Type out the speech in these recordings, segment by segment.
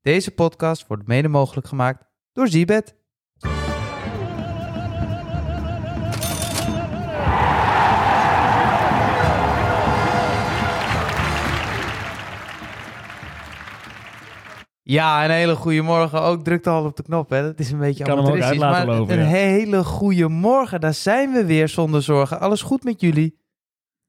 Deze podcast wordt mede mogelijk gemaakt door Zibet. Ja, een hele goede morgen. Ook drukte al op de knop, hè? Dat is een beetje Ik kan hem ook amateuristisch. uit laten maar lopen, een ja. hele goede morgen. Daar zijn we weer zonder zorgen. Alles goed met jullie?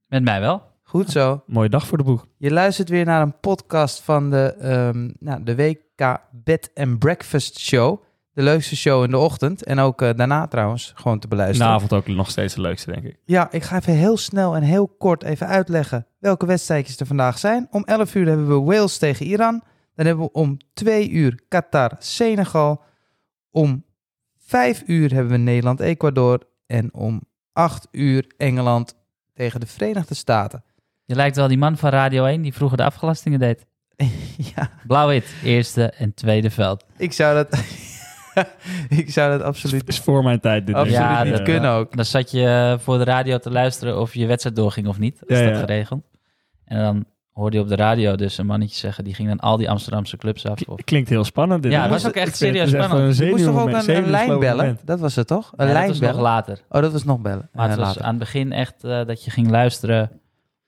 Met mij wel. Goed zo. Mooie dag voor de boeg. Je luistert weer naar een podcast van de, ehm, nou, de WK Bed and Breakfast Show. De leukste show in de ochtend. En ook eh, daarna trouwens gewoon te de beluisteren. avond ook nog steeds de leukste, denk ik. Ja, ik ga even heel snel en heel kort even uitleggen welke wedstrijdjes er vandaag zijn. Om 11 uur hebben we Wales tegen Iran. Dan hebben we om 2 uur Qatar, Senegal. Om 5 uur hebben we Nederland, Ecuador. En om 8 uur Engeland tegen de Verenigde Staten. Je lijkt wel die man van Radio 1 die vroeger de afgelastingen deed. ja. Blauw-wit, eerste en tweede veld. Ik zou dat. ik zou dat absoluut, Is voor mijn tijd dit. denk ik. absoluut Ja, niet dat- kunnen ook. Dan zat je eh, voor de radio te luisteren of je wedstrijd doorging of niet. Is Ja, dat ja. geregeld? En dan hoorde je op de radio dus een mannetje zeggen... die ging dan al die Amsterdamse clubs af. Of... K- Klinkt heel spannend. Dit Ja, hoor. dat was ook Ik echt vind het serieus is spannend. een Je moest toch ook zenuwmoment, een, een lijn zenuwslopend bellen? moment. Dat was het toch? Een Nee, lijn dat was bellen. nog later. oh, dat was nog bellen. Maar het Eh, was later. aan het begin echt eh, dat je ging luisteren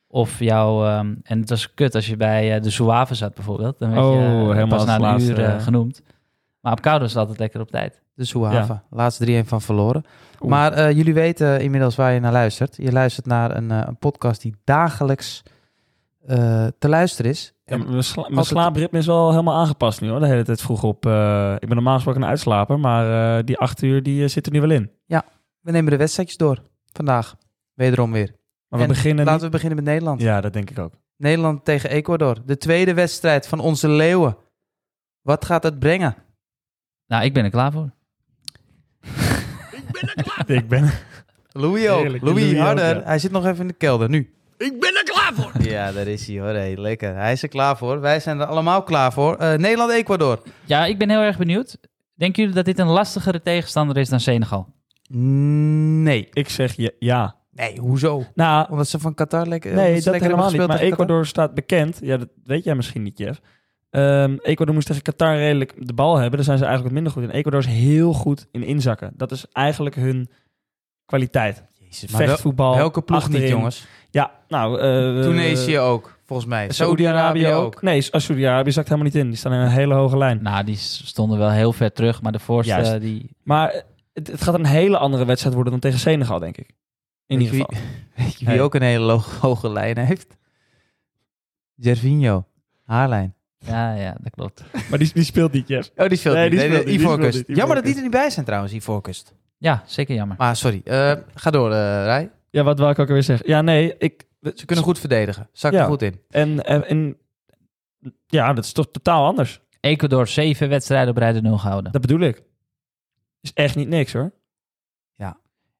of jouw... ehm, en het was kut als je bij eh, de Zouave zat bijvoorbeeld. Dan werd Oh, je eh, helemaal pas als na een laatste, uur eh, eh. genoemd. Maar op koude was het altijd lekker op tijd. De Zouave. Dus Laatste 3-1 van verloren. Oeh. Maar eh, jullie weten inmiddels waar je naar luistert. Je luistert naar een, eh, een podcast die dagelijks eh, te luisteren is. Ja, maar En, mijn sla- mijn Altijd- slaapritme is wel helemaal aangepast nu hoor. De hele tijd vroeg op. eh, ik ben normaal gesproken een uitslaper, maar eh, die acht uur die eh, zit er nu wel in. we nemen de wedstrijdjes door. Vandaag. Wederom weer. Maar we En beginnen. Laten we beginnen met Nederland. niet- Ja, dat denk ik ook. Nederland tegen Ecuador. De tweede wedstrijd van onze leeuwen. Wat gaat het brengen? Nou, ik ben er klaar voor. ik ben. Louis ook. Heerlijk, Louis, Louis ook, harder. ja. Hij zit nog even in de kelder, nu. Ik ben er klaar voor. Ja, daar is hij hoor. Hey, lekker. Hij is er klaar voor. Wij zijn er allemaal klaar voor. Eh, Nederland-Ecuador. Ja, ik ben heel erg benieuwd. Denken jullie dat dit een lastigere tegenstander is dan Senegal? Nee. Ik zeg je ja. Nee, hoezo? Nou, Omdat ze van Qatar lekker omdat Nee, ze dat lekker hebben gespeeld helemaal niet. Maar tegen Qatar? Ecuador staat bekend. Ja, dat weet jij misschien niet, Jeff. Ehm, Ecuador moest tegen Qatar redelijk de bal hebben. Daar zijn ze eigenlijk wat minder goed in. Ecuador is heel goed in inzakken. Dat is eigenlijk hun kwaliteit. Jezus, maar wel- Vechtvoetbal. welke ploeg achterin. niet, jongens? Ja, nou... eh, Tunesië ook, volgens mij. eh, Saoedi-Arabië Saoedi-Arabië ook. Nee, Sa- Saoedi-Arabië zakt helemaal niet in. Die staan in een hele hoge lijn. Nou, die s- stonden wel heel ver terug, maar de voorste Juist. eh, die... Maar eh, het, het gaat een hele andere wedstrijd worden dan tegen Senegal, denk ik. In Weet ieder je geval. Weet je wie Nee. ook een hele lo- hoge lijn heeft? Gervinho. Haarlijn. Ja, ja, dat klopt. Maar die, die speelt niet, Jeff. Oh, die speelt Nee, niet. Nee, die de speelt niet, die speelt Ivoorkust. niet, die Jammer dat die Ivoorkust. er niet bij zijn trouwens, Ivoorkust. Ja, zeker jammer. Maar sorry, eh, ga door, eh Rij. Ja, wat wil ik ook alweer zeggen? Ja, nee, ik... Ze kunnen goed verdedigen. Zak er Ja. goed in. En, en, en ja, dat is toch totaal anders. Ecuador zeven wedstrijden op rij de nul gehouden. Dat bedoel ik. Is echt niet niks hoor.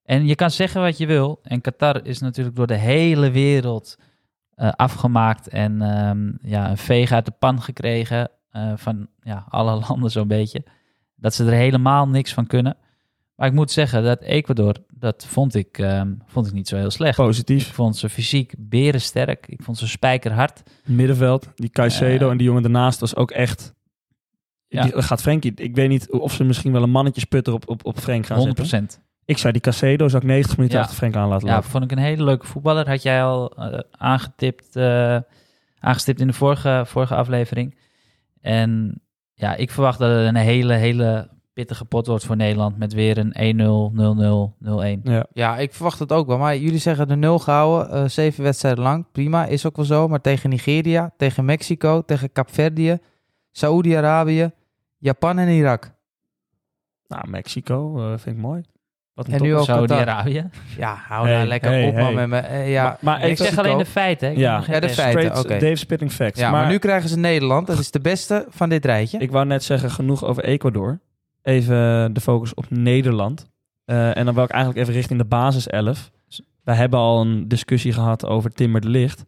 En je kan zeggen wat je wil. En Qatar is natuurlijk door de hele wereld eh, afgemaakt en ehm, ja, een veeg uit de pan gekregen eh, van ja, alle landen zo'n beetje. Dat ze er helemaal niks van kunnen. Maar ik moet zeggen dat Ecuador, dat vond ik, ehm, vond ik niet zo heel slecht. Ik Positief. vond ze fysiek berensterk. Ik vond ze spijkerhard. Middenveld, die Caicedo Eh. en die jongen daarnaast was ook echt... Ja. Die, gaat Frenkie, ik weet niet of ze misschien wel een mannetjesputter op, op, op Frenk gaan 100 zetten. Ik zou die Caicedo zou ik 90 minuten Ja. achter Frenk aan laten Ja, lopen. vond ik een hele leuke voetballer. Had jij al eh, aangetipt, eh, aangestipt in de vorige, vorige aflevering. En ja, ik verwacht dat het een hele, hele pittige pot wordt voor Nederland. Met weer een 1-0, 0-0, 0-1. Ja, ik verwacht het ook wel. Maar jullie zeggen de nul gehouden, eh, zeven wedstrijden lang. Prima, is ook wel zo. Maar tegen Nigeria, tegen Mexico, tegen Capverdië, Saoedi-Arabië, Japan en Irak. Nou, Mexico eh, vind ik mooi. Wat een En top. nu ook Qatar. Saudi-Arabië. Ja, hou Hey, nou lekker hey, op man hey. met me. Eh, ja, Maar- maar ik Ik zeg Mexico. alleen de feiten. hè. Ik Ja. heb nog geen Ja, de test. feiten, Straight oké. Dave Spitting Facts. Ja, maar, maar nu krijgen ze Nederland. Dat is de beste van dit rijtje. Ik wou net zeggen, genoeg over Ecuador. Even de focus op Nederland. Eh, en dan wil ik eigenlijk even richting de basis 11. We hebben al een discussie gehad over Timmer de Licht.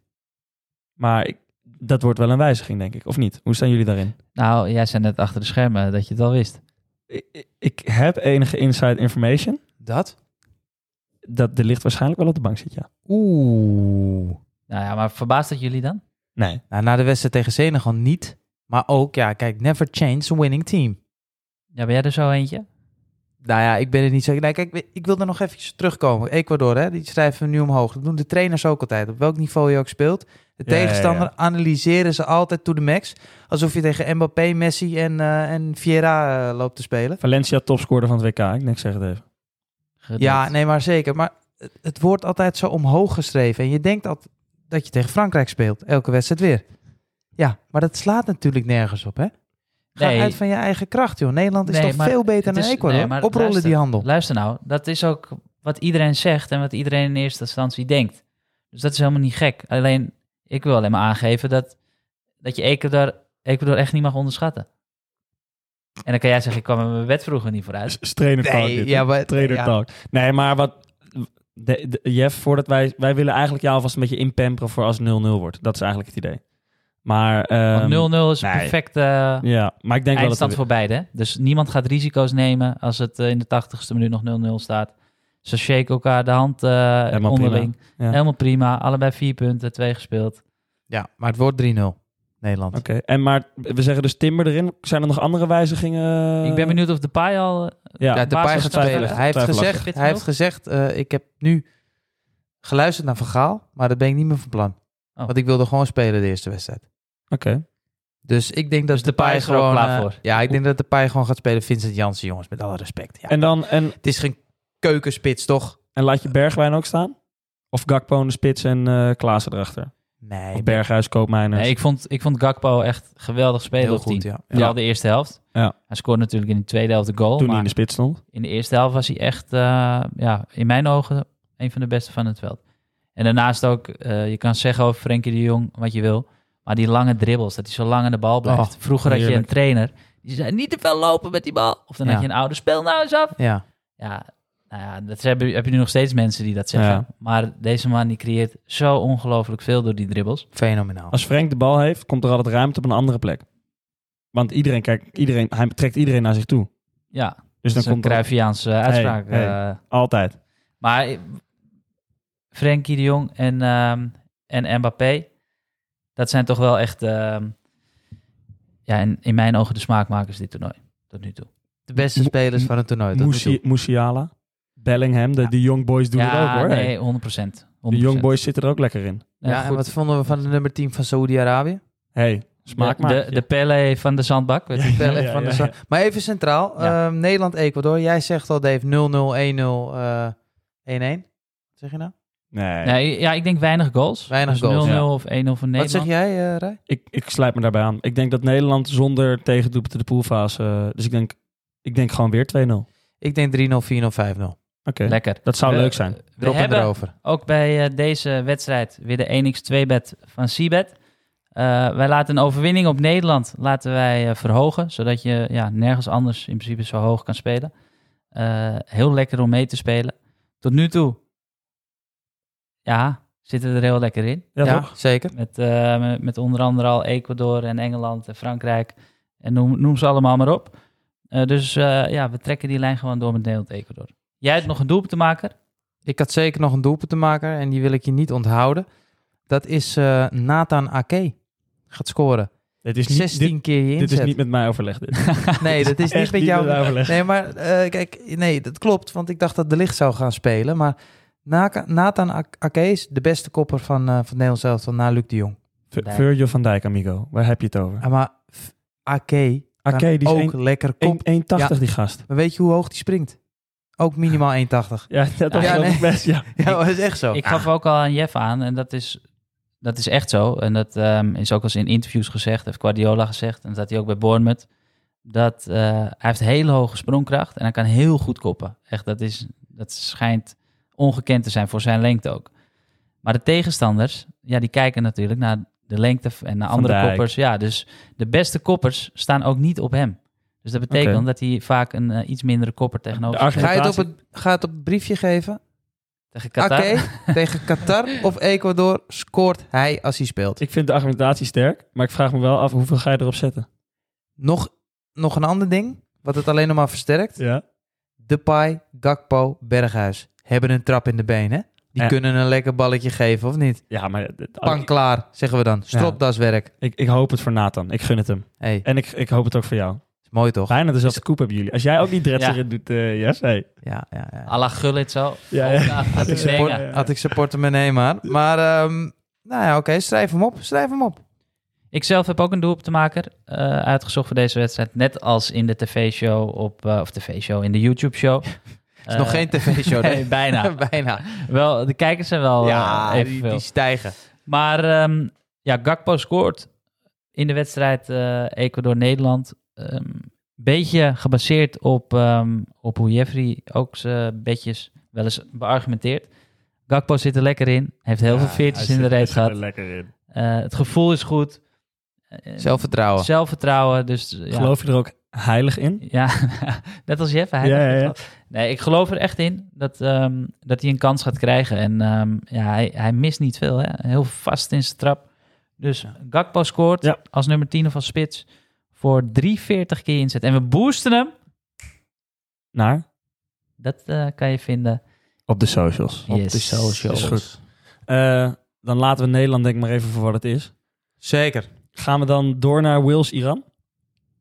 Maar ik, dat wordt wel een wijziging, denk ik. Of niet? Hoe staan jullie daarin? Nou, jij zei net achter de schermen dat je het al wist. Ik, ik- ik heb enige inside information Dat? dat de Licht waarschijnlijk wel op de bank zit, ja. Oeh. Nou ja, maar verbaast dat jullie dan? Nee. Nou, na de wedstrijd tegen Senegal niet. Maar ook, ja, kijk, never change a winning team. Ja, ben jij er zo eentje? Nou ja, ik ben het niet zeker. Nee, kijk, ik wil er nog even terugkomen. Ecuador, hè, die schrijven we nu omhoog. Dat doen de trainers ook altijd. Op welk niveau je ook speelt. De Ja, tegenstander ja, analyseren ze altijd to the max. Alsof je tegen Mbappé, Messi en, eh, en Vieira eh, loopt te spelen. Valencia topscorer van het WK. Ik niks zeg het even. Gedoe. Ja, nee, maar zeker. Maar het- het wordt altijd zo omhoog geschreven. En je denkt dat, dat je tegen Frankrijk speelt. Elke wedstrijd weer. Ja, maar dat slaat natuurlijk nergens op, hè? Ga Nee. uit van je eigen kracht, joh. Nederland is Nee, toch maar veel beter het dan is- Ecuador? nee, maar Oprollen luister. die handel. Luister nou, dat is ook wat iedereen zegt en wat iedereen in eerste instantie denkt. Dus dat is helemaal niet gek. Alleen, ik wil alleen maar aangeven dat, dat je Ecuador, Ecuador echt niet mag onderschatten. En dan kan jij zeggen, ik kwam met mijn wet vroeger niet vooruit. S- Trainer talk Nee, dit, ja, hè? maar- Trainer ja. talk. Nee, maar wat... de- de- Jeff, voordat wij... Wij willen eigenlijk jou alvast een beetje inpamperen voor als 0-0 wordt. Dat is eigenlijk het idee. Maar... ehm, Want 0-0 is een nee. perfecte eh, Ja, maar ik denk wel dat... eindstand het- voor beide. hè? Dus niemand gaat risico's nemen als het eh, in de tachtigste minuut nog 0-0 staat. Ze shaken elkaar de hand eh, onderling. prima, ja. Helemaal prima. Allebei vier punten, twee gespeeld. Ja, maar het wordt 3-0. Nederland. Oké, en maar we zeggen dus Timber erin. Zijn er nog andere wijzigingen? ik ben benieuwd of de paai al... eh, Ja, Ja, ja, de Pai basis gaat twijfel- spelen. Hij heeft twijfelachtig. gezegd, Fit hij heeft nog? gezegd eh, ik heb nu geluisterd naar Vergaal, maar dat ben ik niet meer van plan. Oh. Want ik wilde gewoon spelen de eerste wedstrijd. oké. Dus ik denk dat Dus de Depay Pai is er ook gewoon... klaar eh, voor. Ja, ik denk dat de Pai gewoon gaat spelen. Vincent Jansen, jongens, met alle respect. Ja. En dan, en, Het is geen keukenspits, toch? en laat je Bergwijn ook staan? Of Gakpo in de spits en eh Klaassen erachter? Nee, Of Berghuis, Koopmeiners? Nee, ik, vond, ik vond Gakpo echt geweldig spelen heel op 10. goed, ja. Vooral Ja. de eerste helft. Ja. Hij scoorde natuurlijk in de tweede helft de goal. Toen hij maar in de spits stond. in de eerste helft was hij echt, eh, ja, in mijn ogen, een van de beste van het veld. En daarnaast ook, eh, je kan zeggen over Frenkie de Jong wat je wil. Maar die lange dribbels, dat hij zo lang aan de bal blijft. Oh, Vroeger had je heerlijk. een trainer, die zei niet te veel lopen met die bal. Of dan Ja. had je een oude, speel nou eens af. Ja, Ja, nou ja, dat heb je, heb je nu nog steeds mensen die dat zeggen. Ja. Maar deze man die creëert zo ongelooflijk veel door die dribbels. fenomenaal. Als Frank de bal heeft, komt er altijd ruimte op een andere plek. Want iedereen, kijk, iedereen, hij trekt iedereen naar zich toe. Ja, Dus dan dat is een komt er Cruyffiaanse uitspraak. hey. eh. altijd. maar eh, Frenkie de Jong en, ehm, en Mbappé, dat zijn toch wel echt, ehm, ja, in, in mijn ogen de smaakmakers dit toernooi. Tot nu toe. De beste Mo- spelers van het toernooi. tot nu Musi- toe. Musiala, Bellingham, de, de Young Boys doen het ja, ook hoor. nee, 100 procent. de Young Boys zitten er ook lekker in. Ja, en wat vonden we van de nummer 10 van Saoedi-Arabië? hey, smaak de, de, de Pele van de zandbak. weet je. Wel even van de ja, za- Maar even centraal. Ja. ehm, Nederland-Ecuador. Jij zegt al, Dave, 0-0, 1-0, eh, 1-1. Wat zeg je nou? Nee, Nee, ja, ik denk weinig goals. Weinig Dus goals. 0-0 Ja. of 1-0 voor Nederland. Wat zeg jij, eh, Rij? Ik, ik sluit me daarbij aan. Ik denk dat Nederland zonder tegendoepen de poolfase... eh, dus ik denk, ik denk gewoon weer 2-0. Oké, Ik denk 3-0, 4-0, 5-0. Lekker. dat zou Eh, We- leuk zijn. We Erop en hebben erover. Ook bij eh, deze wedstrijd weer de 1x2-bet van Seabed. Eh, wij laten een overwinning op Nederland laten wij, eh, verhogen, zodat je ja, nergens anders in principe zo hoog kan spelen. Eh, heel lekker om mee te spelen. Tot nu toe ja, zitten we er heel lekker in. Ja, ja, toch? zeker. Met, eh, met- met onder andere al Ecuador en Engeland en Frankrijk. En noem, noem ze allemaal maar op. Eh, dus eh, ja, we trekken die lijn gewoon door met Nederland-Ecuador. Jij hebt nog een doelpunt te maken. Ik had zeker nog een doelpunt te maken en die wil ik je niet onthouden. Dat is eh, Nathan Ake. Gaat scoren. Dit is niet, 16 dit, keer je dit inzet. is niet met mij overlegd. Dit. Echt nee, dat is niet met jou. mij overlegd. Nee, maar eh, kijk, nee, dat klopt. Want ik dacht dat De Licht zou gaan spelen. Maar Naka- Nathan Ak- Ake is de beste kopper van, eh, van het Nederlands elftal na Luc de Jong. Vir- Dijk. Virgil van Dijk, amigo. Waar heb je het over? Ah, maar F- Ake kan Oké, die is ook één- lekker één- kop. 1,80 die gast. Maar weet je hoe hoog die springt? Ook minimaal 1,80. Ja, dat was Ja, wel nee. het best, ja. Ja, dat is echt zo. Ik gaf ook al aan Jeff aan en dat is, dat is echt zo. En dat ehm, is ook al eens in interviews gezegd, heeft Guardiola gezegd. En dat had hij ook bij Bournemouth. Dat eh, hij heeft hele hoge sprongkracht en hij kan heel goed koppen. Echt, dat, is, dat schijnt ongekend te zijn voor zijn lengte ook. Maar de tegenstanders, ja, die kijken natuurlijk naar de lengte en naar Van andere Dijk. koppers. Ja, dus de beste koppers staan ook niet op hem. Dus dat betekent Oké. dat hij vaak een eh, iets mindere kopper tegenover De zich heeft. Ga je het op het, ga je het op het briefje geven? Tegen Qatar. Ake tegen Qatar of Ecuador scoort hij als hij speelt. Ik vind de argumentatie sterk, maar ik vraag me wel af hoeveel ga je erop zetten. Nog, nog een ander ding, wat het alleen nog maar versterkt. Ja. Depay, Gakpo, Berghuis hebben een trap in de benen. Die Eh. kunnen een lekker balletje geven, of niet? Ja, maar het- Oh, het- Pan klaar, zeggen we dan. Stropdaswerk. ik, ik hoop het voor Nathan. Ik gun het hem. hey, En ik, ik hoop het ook voor jou. is mooi toch? Bijna dezelfde koep hebben jullie. Als jij ook die dredger Ja. in doet, eh Jess, hey. Ja, ja, ja. à la Gullit zo. Ja, Ja, ja. Gaat ik hij support, brengen. had ik zijn portemonnee maar. Maar, ehm, nou ja, oké, schrijf hem op. Schrijf hem op. Ik zelf heb ook een doelpuntenmaker eh, uitgezocht voor deze wedstrijd. Net als in de tv-show op... eh, of tv-show, in de YouTube-show. Het is nog geen tv-show. Eh, Nee, bijna. Bijna. wel, de kijkers zijn wel Ja, eh, die, evenveel. die stijgen. Maar ehm, ja, Gakpo scoort in de wedstrijd eh, Ecuador-Nederland. Ehm beetje gebaseerd op, ehm, op hoe Jeffrey ook zijn bedjes wel eens beargumenteert. Gakpo zit er lekker in. Heeft heel veel veertjes in de reet gehad. lekker in. Eh, het gevoel is goed. Eh, Zelfvertrouwen. zelfvertrouwen, Dus eh, ja, Oh. Geloof je er ook heilig in? ja, net als Jeff. Hij Ja, ja, ja. Nee, ik geloof er echt in dat, ehm, dat hij een kans gaat krijgen. En ehm, ja, hij, hij mist niet veel. Hè? Heel vast in zijn trap. Dus Gakpo scoort Ja. als nummer 10 of als spits voor 3,40 keer inzet. En we boosten hem. Naar? Dat eh, kan je vinden. Op de socials. Yes. Is goed. Eh, dan laten we Nederland denk ik maar even voor wat het is. Zeker. Gaan we dan door naar Wales-Iran?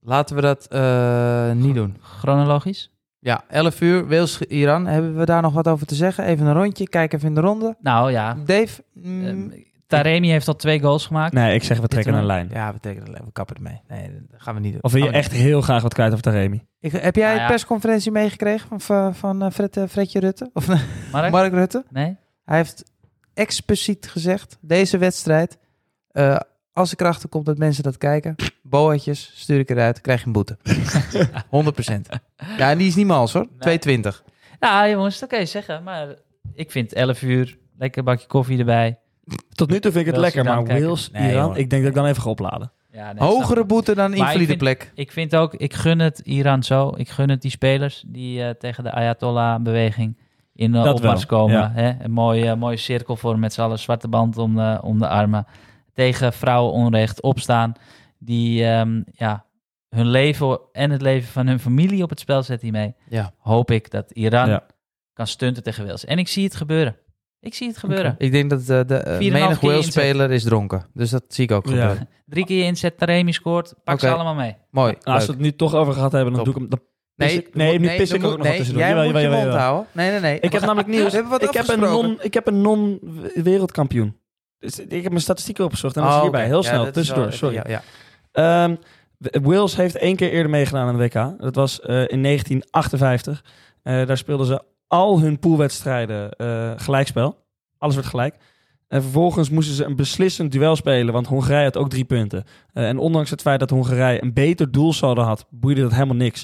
Laten we dat eh, niet doen. Chronologisch. Ja, 11 uur, Wales, Iran. Hebben we daar nog wat over te zeggen? Even een rondje, kijk even in de ronde. Nou ja, Dave? mm, ehm, Taremi heeft al twee goals gemaakt. Nee, ik zeg we trekken een lijn. ja, Oh, we, tekenen alleen, we kappen ermee. Nee, dat gaan we niet doen. Of wil je Gaan we echt heel graag wat kwijt over Taremi? niet. Ik- heb jij Nou de ja. persconferentie meegekregen van, van, van eh, Fred, eh, Fredje Rutte? Of Mark? Mark Rutte? Nee? Hij heeft expliciet gezegd, deze wedstrijd, eh, als ik erachter kom dat mensen dat kijken, boaatjes, stuur ik eruit, krijg je een boete. 100%. Ja, en die is niet mals hoor. 2,20. Nou jongens, dat kan je zeggen. Maar ik vind 11 uur, lekker bakje koffie erbij. Tot nu toe vind ik het Wales-Iran lekker, maar kijken. Wales-Iran, Nee, jongen. ik denk dat ik dan even ga opladen. Ja, nee, snap Hogere ik. boete dan ik invalide vind- plek. Ik vind ook, ik gun het Iran zo. Ik gun het die spelers die eh, tegen de Ayatollah-beweging in eh Dat opmars wel, komen. ja. Hè? Een mooie, mooie cirkel vormen met z'n allen, zwarte band om de, om de armen. Tegen vrouwenonrecht opstaan. Die ehm, ja, hun leven en het leven van hun familie op het spel zetten hiermee. Ja. Hoop ik dat Iran Ja. kan stunten tegen Wales. En ik zie het gebeuren. Ik zie het gebeuren. Ik denk dat eh, de eh, 4,5 menig keer Wales-speler is dronken. Dus dat zie ik ook Ja. gebeuren. Drie keer inzet, Taremi scoort. Pak ze Oké. allemaal mee. Mooi. Nou, als we leuk. het nu toch over gehad hebben, dan Top. doe ik hem... dan- pis ik- nee, nu pis dan ik moet- ook nog wat nee, tussendoor. Jij Jawel, moet jawel, je mond jawel. houden. Nee, nee, nee. Ik heb namelijk We nieuws. hebben wat ik, heb een afgesproken. non, ik heb een non-wereldkampioen. Dus ik heb mijn statistieken opgezocht en dat Oh, is hierbij. oké. Heel Ja, snel, dat is wel tussendoor, even- sorry. Ja, ja. Ehm, w- Wales heeft één keer eerder meegedaan aan de WK. Dat was eh, in 1958. Eh, daar speelden ze al hun poolwedstrijden eh, gelijkspel. Alles werd gelijk. En vervolgens moesten ze een beslissend duel spelen, want Hongarije had ook drie punten. Eh, en ondanks het feit dat Hongarije een beter doelsaldo had, boeide dat helemaal niks.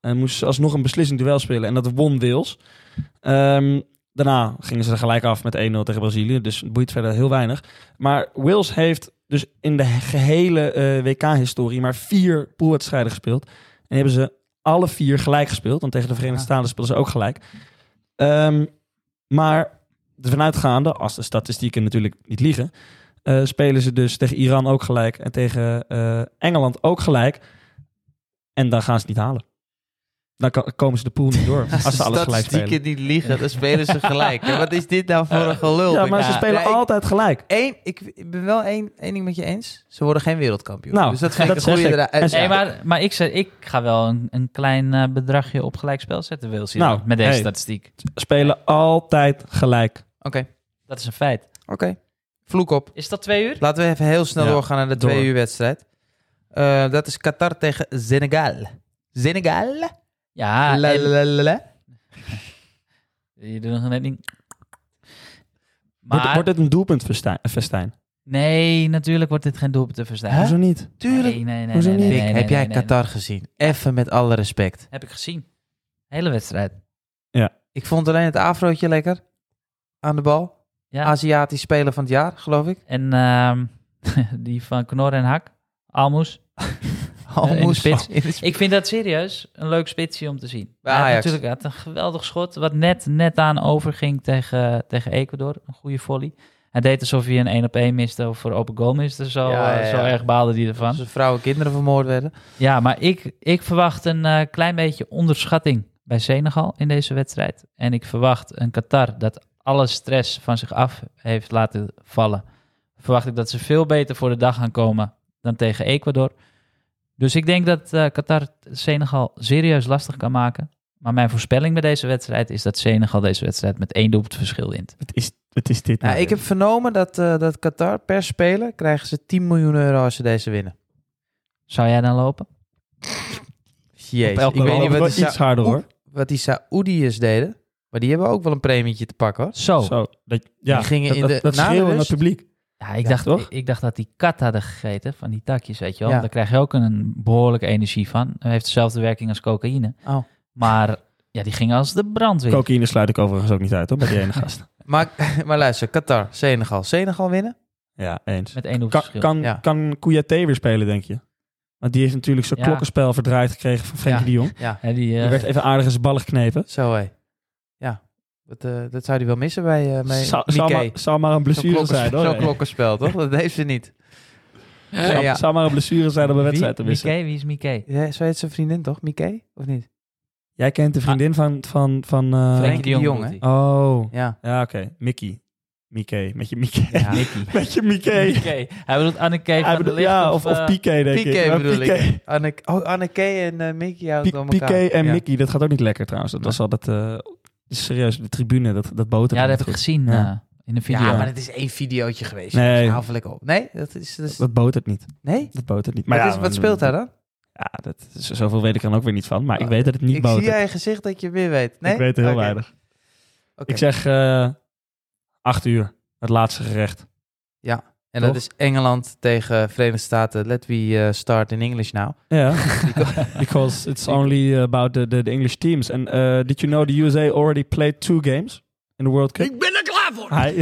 En moesten ze alsnog een beslissend duel spelen en dat won Wales. Ehm, daarna gingen ze er gelijk af met 1-0 tegen Brazilië, dus het boeit verder heel weinig. Maar Wales heeft dus in de gehele WK-historie maar vier poolwedstrijden gespeeld. En hebben ze alle vier gelijk gespeeld. Want tegen de Verenigde Ah. Staten spelen ze ook gelijk. Ehm, maar ervan uitgaande, als de statistieken natuurlijk niet liegen... eh, spelen ze dus tegen Iran ook gelijk en tegen eh, Engeland ook gelijk. En dan gaan ze het niet halen. Dan ko- komen ze de pool niet door. als ze alles gelijk spelen. Eh, Statistieken niet liegen, dan spelen ze gelijk. En wat is dit nou voor een gelul? Ja, maar Ik- ze Ja, spelen ik- altijd gelijk. Eén, ik, ik ben wel één, één ding met je eens. Ze worden geen wereldkampioen. Nou, dus dat vind ik dat een zeg goede ik. eruit- En ze- Ja. Nee, maar, maar ik, zei, ik ga wel een, een klein eh, bedragje op gelijkspel zetten, wil zien. Nou, met deze hey. statistiek. Spelen altijd gelijk. Oké, Dat is een feit. oké. Vloek op. Is dat twee uur? Laten we even heel snel Ja, doorgaan naar de door. twee uur wedstrijd. Eh, dat is Qatar tegen Senegal. Senegal? Ja, La, Ah, en- la, la, la. je doet nog net niet. Maar, Wordt, wordt dit een doelpunt eh, festijn? festijn? nee, natuurlijk wordt dit geen doelpunt te verstaan. Hoezo niet? Tuurlijk. Nee, nee, nee. Hoezo nee, nee, niet? nee, Nick, nee, heb jij nee, nee. Qatar gezien? Even met alle respect. Heb ik gezien. Hele wedstrijd. Ik vond alleen het afrootje lekker. Aan de bal. Ja. Aziatisch speler van het jaar, geloof ik. En ehm, die van Knor en Hak. Almoes. Almoes. in de spits. In de spits. Ik vind dat serieus een leuk spitsje om te zien. Bij Hij had Ajax. natuurlijk hij had een geweldig schot, wat net, net aan overging tegen, tegen Ecuador. Een goede volley. Hij deed alsof hij een 1 op 1 miste of voor open goal miste. Zo, Ja, ja, eh, zo ja. erg baalde hij ervan. Als er vrouwen en kinderen vermoord werden. Ja, maar ik, ik verwacht een eh, klein beetje onderschatting bij Senegal in deze wedstrijd. En ik verwacht een Qatar dat alle stress van zich af heeft laten vallen, verwacht ik dat ze veel beter voor de dag gaan komen dan tegen Ecuador. Dus ik denk dat eh, Qatar het Senegal serieus lastig kan maken. Maar mijn voorspelling bij deze wedstrijd is dat Senegal deze wedstrijd met één doelpunt verschil wint. Het is, het is dit. Nou, ik heb vernomen dat, eh, dat Qatar per speler krijgen ze 10 miljoen euro als ze deze winnen. Zou jij dan lopen? Jezus, ik weet niet wat die, iets Sa- harder hoor. wat die Saoediërs deden, maar die hebben ook wel een premietje te pakken hoor. Zo. Zo, dat, ja, Oh. Die gingen dat, in dat- de- dat na de schreeuwen aan het rust. publiek. Ja, ik, Ja, dacht, toch? ik, ik dacht dat die kat hadden gegeten van die takjes, weet je wel. Ja. Daar krijg je ook een behoorlijke energie van. Het heeft dezelfde werking als cocaïne. Oh. Maar ja, die ging als de brandweer. Cocaïne sluit ik overigens ook niet uit hoor, bij die ene gast. Maar, maar luister, Qatar, Senegal. Senegal winnen? Ja, eens. met één Kan, doelverschil. kan, Ja. kan Kouyaté weer spelen, denk je? Want die heeft natuurlijk zijn Ja. klokkenspel verdraaid gekregen van Frenkie Ja. de Jong. Ja, Hè, die, eh, Die werd even aardig in zijn ballen geknepen. zo hé. Ja, dat, eh, dat zou hij wel missen bij eh bij Zou, zou, maar, Nikkei. zou maar een Zo'n blessure klokken- zijn hoor. zo'n hè? klokkenspel, toch? Dat heeft ze niet. Zou, Ja. zou maar een blessure zijn om een Wie- wedstrijd te missen. Mickey, wie is Mickey? Ja, zo heet zijn vriendin, toch? Mickey? Of niet? Jij kent de vriendin van... van, van eh, Frenkie de Jong, bedoelt hè? hij. Oh, Ja. ja oké. Mickey. Mickey. Met je Mickey. Ja. Met je Mickey. Mickey. Hij bedoelt Anneke van Hij de bedoelt- Licht. ja, of, of eh, Piqué denk ik. Piqué Maar bedoel Piqué. ik. Anneke, oh, Anneke en eh Mickey houden Pi- het door elkaar. Piqué en Ja. Mickey, dat gaat ook niet lekker trouwens. Dat was altijd... eh, serieus, de tribune, dat, dat boter. ja, dat niet heb ik goed. gezien Ja. eh, in een video. Ja, maar dat is één videootje geweest. Nee. Nee. Hafelijk op. Nee? Dat is, dat is- Dat botert niet. nee? Dat botert niet. wat, ja, is, wat speelt daar dan? Ja, dat, is- zoveel weet ik dan ook weer niet van. Maar ik Oh, weet dat het niet Ik zie botert. jij gezicht dat je weer weet. Nee? Ik weet er heel Oké. weinig. Oké. Ik zeg eh acht uur. Het laatste gerecht. en dat toch? is Engeland tegen Verenigde Staten. Let we eh, start in English now. Ja, because it's only about the, the, the English teams. And uh, did you know the USA already played two games in the World Cup? Ik ben er klaar voor! Hij,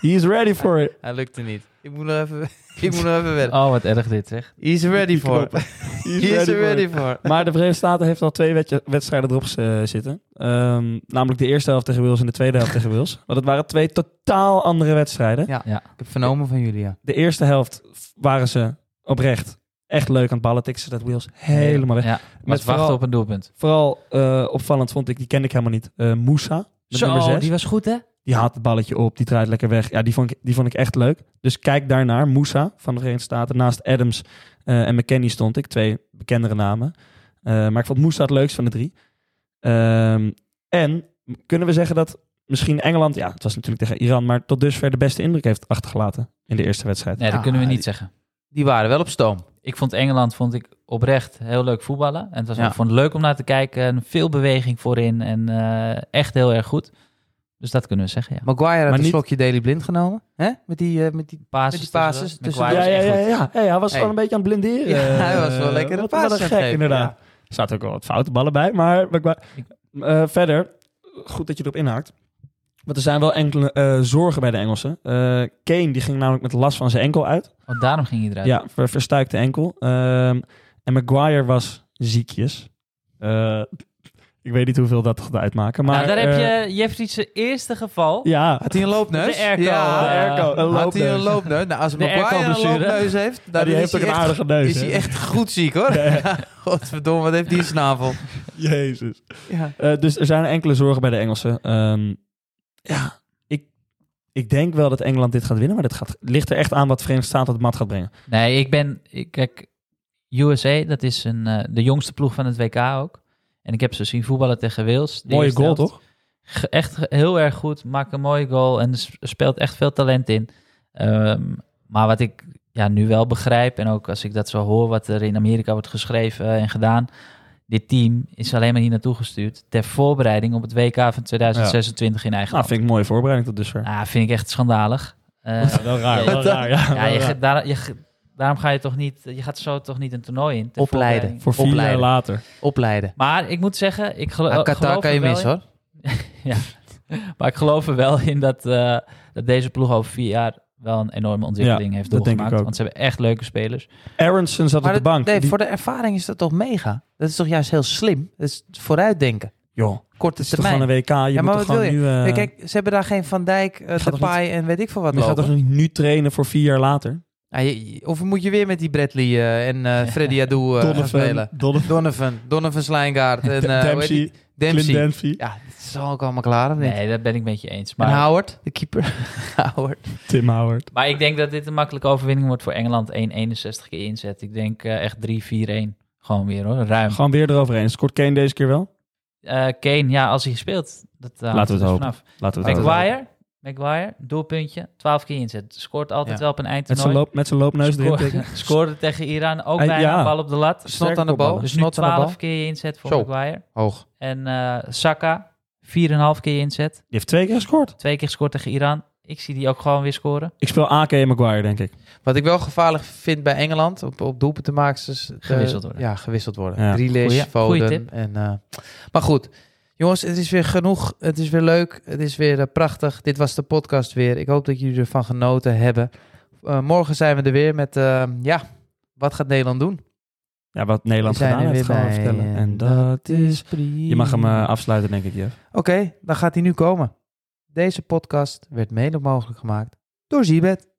he is ready for it. Hij lukte niet. Ik moet nog even, ik moet nog even wedden. Oh, wat erg dit zeg. He's ready Die for. knoppen. He is He's ready for it. ready for. Maar de Verenigde Staten heeft al twee wedje- wedstrijden erop eh, zitten. Ehm, namelijk de eerste helft tegen Wales en de tweede helft tegen Wales. Want het waren twee totaal andere wedstrijden. Ik heb vernomen van jullie, ja. De eerste helft waren ze oprecht echt leuk aan het ballen. Tikten ze dat Wales helemaal weg. Ja, maar Met ze wachten vooral- op een doelpunt. Vooral eh, opvallend vond ik, die kende ik helemaal niet, Eh Moussa. Met nummer Zo, 6. die Die, was goed hè? haalt het balletje op, die draait lekker weg. Ja, die vond ik, die vond ik echt leuk. Dus kijk daarnaar, Moussa van de Verenigde Staten. Naast Adams eh, en McKennie stond ik, twee bekendere namen. Eh, maar ik vond Moussa het leukst van de drie. Ehm, en kunnen we zeggen dat misschien Engeland, ja, het was natuurlijk tegen Iran, maar tot dusver de beste indruk heeft achtergelaten in de eerste wedstrijd. Nee, dat Ah, kunnen we niet die- zeggen. Die waren wel op stoom. Ik vond Engeland vond ik oprecht heel leuk voetballen. En het was Ja. ik vond het leuk om naar te kijken. En veel beweging voorin. En eh, echt heel erg goed. Dus dat kunnen we zeggen, ja. Maguire had Maar een niet- slokje Daily Blind genomen. Hè? Met die, eh, met die Basis Met die basis tussendoor. tussendoor. McGuire ja, was ja, echt ja, goed. ja, ja. Hij was Hey. gewoon een beetje aan het blinderen. Ja, hij was wel Eh, lekker een wat- wat paas een aan het gek, geven, inderdaad. Er zaten ook wel wat foute ballen bij. Maar maar- maar- Ik- eh, verder, goed dat je erop inhaakt. Want er zijn wel enkele eh, zorgen bij de Engelsen. Eh, Kane die ging namelijk met last van zijn enkel uit. Want daarom ging hij eruit. Ja, ver, verstuikte enkel. Ehm, en Maguire was ziekjes. Eh, ik weet niet hoeveel dat gaat uitmaken. Maar, nou, daar heb eh, je Jeffrey zijn eerste geval. Ja, dus- Had hij een loopneus? De airco, de Ja. eh, airco, Oh. een Had hij een loopneus. loopneus? Nou, als De Maguire een airco-blessure. loopneus heeft, Maar dan die is, heeft ook hij een echt, aardige neus. is hij hè? echt goed ziek, hoor. Ja. Godverdomme, wat heeft die een snavel? Jezus. Ja. Eh, dus er zijn enkele zorgen bij de Engelsen. Ehm, ja, ik, ik denk wel dat Engeland dit gaat winnen, maar dat gaat, ligt er echt aan wat de Verenigde Staten op de mat gaat brengen. Nee, ik ben... ik- Kijk, USA, dat is een, eh, de jongste ploeg van het WK ook. En ik heb ze zien voetballen tegen Wales. De Mooie eerste goal, helft. toch? Ge- Echt heel erg goed. Maakt een mooie goal. En er s- speelt echt veel talent in. Ehm, maar wat ik ja, nu wel begrijp... en ook als ik dat zo hoor... wat er in Amerika wordt geschreven en gedaan... dit team is alleen maar hier naartoe gestuurd... ter voorbereiding op het WK van 2026 in Nou, eigen land. vind ik een mooie voorbereiding tot dusver. Ah, vind ik echt schandalig. Eh, wel raar, wel raar. Ja, ja, je, gaat- daar, je, gaat- daarom ga je toch niet... je gaat zo toch niet een toernooi in. ter Opleiden. voorbereiding. Voor vier Opleiden. jaar later. Opleiden. Maar ik moet zeggen... Ik gelo- Aan Ah, Qatar geloof kan er je wel mis, in. hoor. Maar ik geloof er wel in dat, eh, dat deze ploeg over vier jaar wel een enorme ontwikkeling heeft dat denk ik doorgemaakt. ook. Want ze hebben echt leuke spelers. Aronson zat Maar op de dat- bank. nee, Die- voor de ervaring is dat toch mega? Dat is toch juist heel slim? Dat is vooruitdenken. Joh, Korte het is toch gewoon termijn. een WK. Je Ja, moet maar toch wat gewoon wil nu... eh, Ja, Kijk, ze hebben daar geen Van Dijk, eh, gaat toch Depay en weet ik veel wat je gaat toch lopen. niet nu trainen voor vier jaar later? Ah, je- je- of moet je weer met die Bradley eh, en eh, Freddy Adu eh, gaan spelen? Donovan, Donovan, Donovan Slijngaard en eh, hoe heet die? Dempsey. Dempsey. Clint Dempsey, Ja, dat zal ook allemaal klaar. of niet? Nee, dat ben ik met je eens. Maar... Maar, Howard, de keeper. Howard. Tim Howard. maar ik denk dat dit een makkelijke overwinning wordt voor Engeland. 1,61 keer inzet. Ik denk eh, echt 3-4-1. Gewoon weer hoor, ruim. Gewoon weer eroverheen. Scoort Kane deze keer wel? Eh, Kane, ja, als hij speelt. Dat, eh, hangt Laten we het er hopen. vanaf. Laten we het houden. Maguire, Maguire, doelpuntje, 12 keer inzet. Scoort altijd Ja. wel op een Met zijn, eindtoernooi. loop, met zijn loopneus erin. Scoor- tikken. Scoorde tegen Iran, ook Hij- bijna ja. een bal op de lat. Snot aan de bal. kopballen. Dus nu Snot aan de 12 bal. keer je inzet voor Zo. Maguire. Hoog. En eh Saka, 4,5 keer je inzet. Die heeft twee keer gescoord. Twee keer gescoord tegen Iran. Ik zie die ook gewoon weer scoren. Ik speel AK en Maguire, denk ik. Wat ik wel gevaarlijk vind bij Engeland, op, op doelpunten te maken, is... eh, Gewisseld worden. Ja, gewisseld worden. Ja. Grealish, Goeie- Foden. goeie tip. En, eh, maar goed, jongens, het is weer genoeg. Het is weer leuk. Het is weer eh, prachtig. Dit was de podcast weer. Ik hoop dat jullie ervan genoten hebben. Eh, morgen zijn we er weer met, eh, ja, wat gaat Nederland doen? Ja, wat Nederland We zijn gedaan er heeft, weer gaan we bij vertellen. en En dat is... prima. Je mag hem eh, afsluiten, denk ik, Jeff. Oké, dan gaat hij nu komen. Deze podcast werd mede mogelijk gemaakt door Zibet.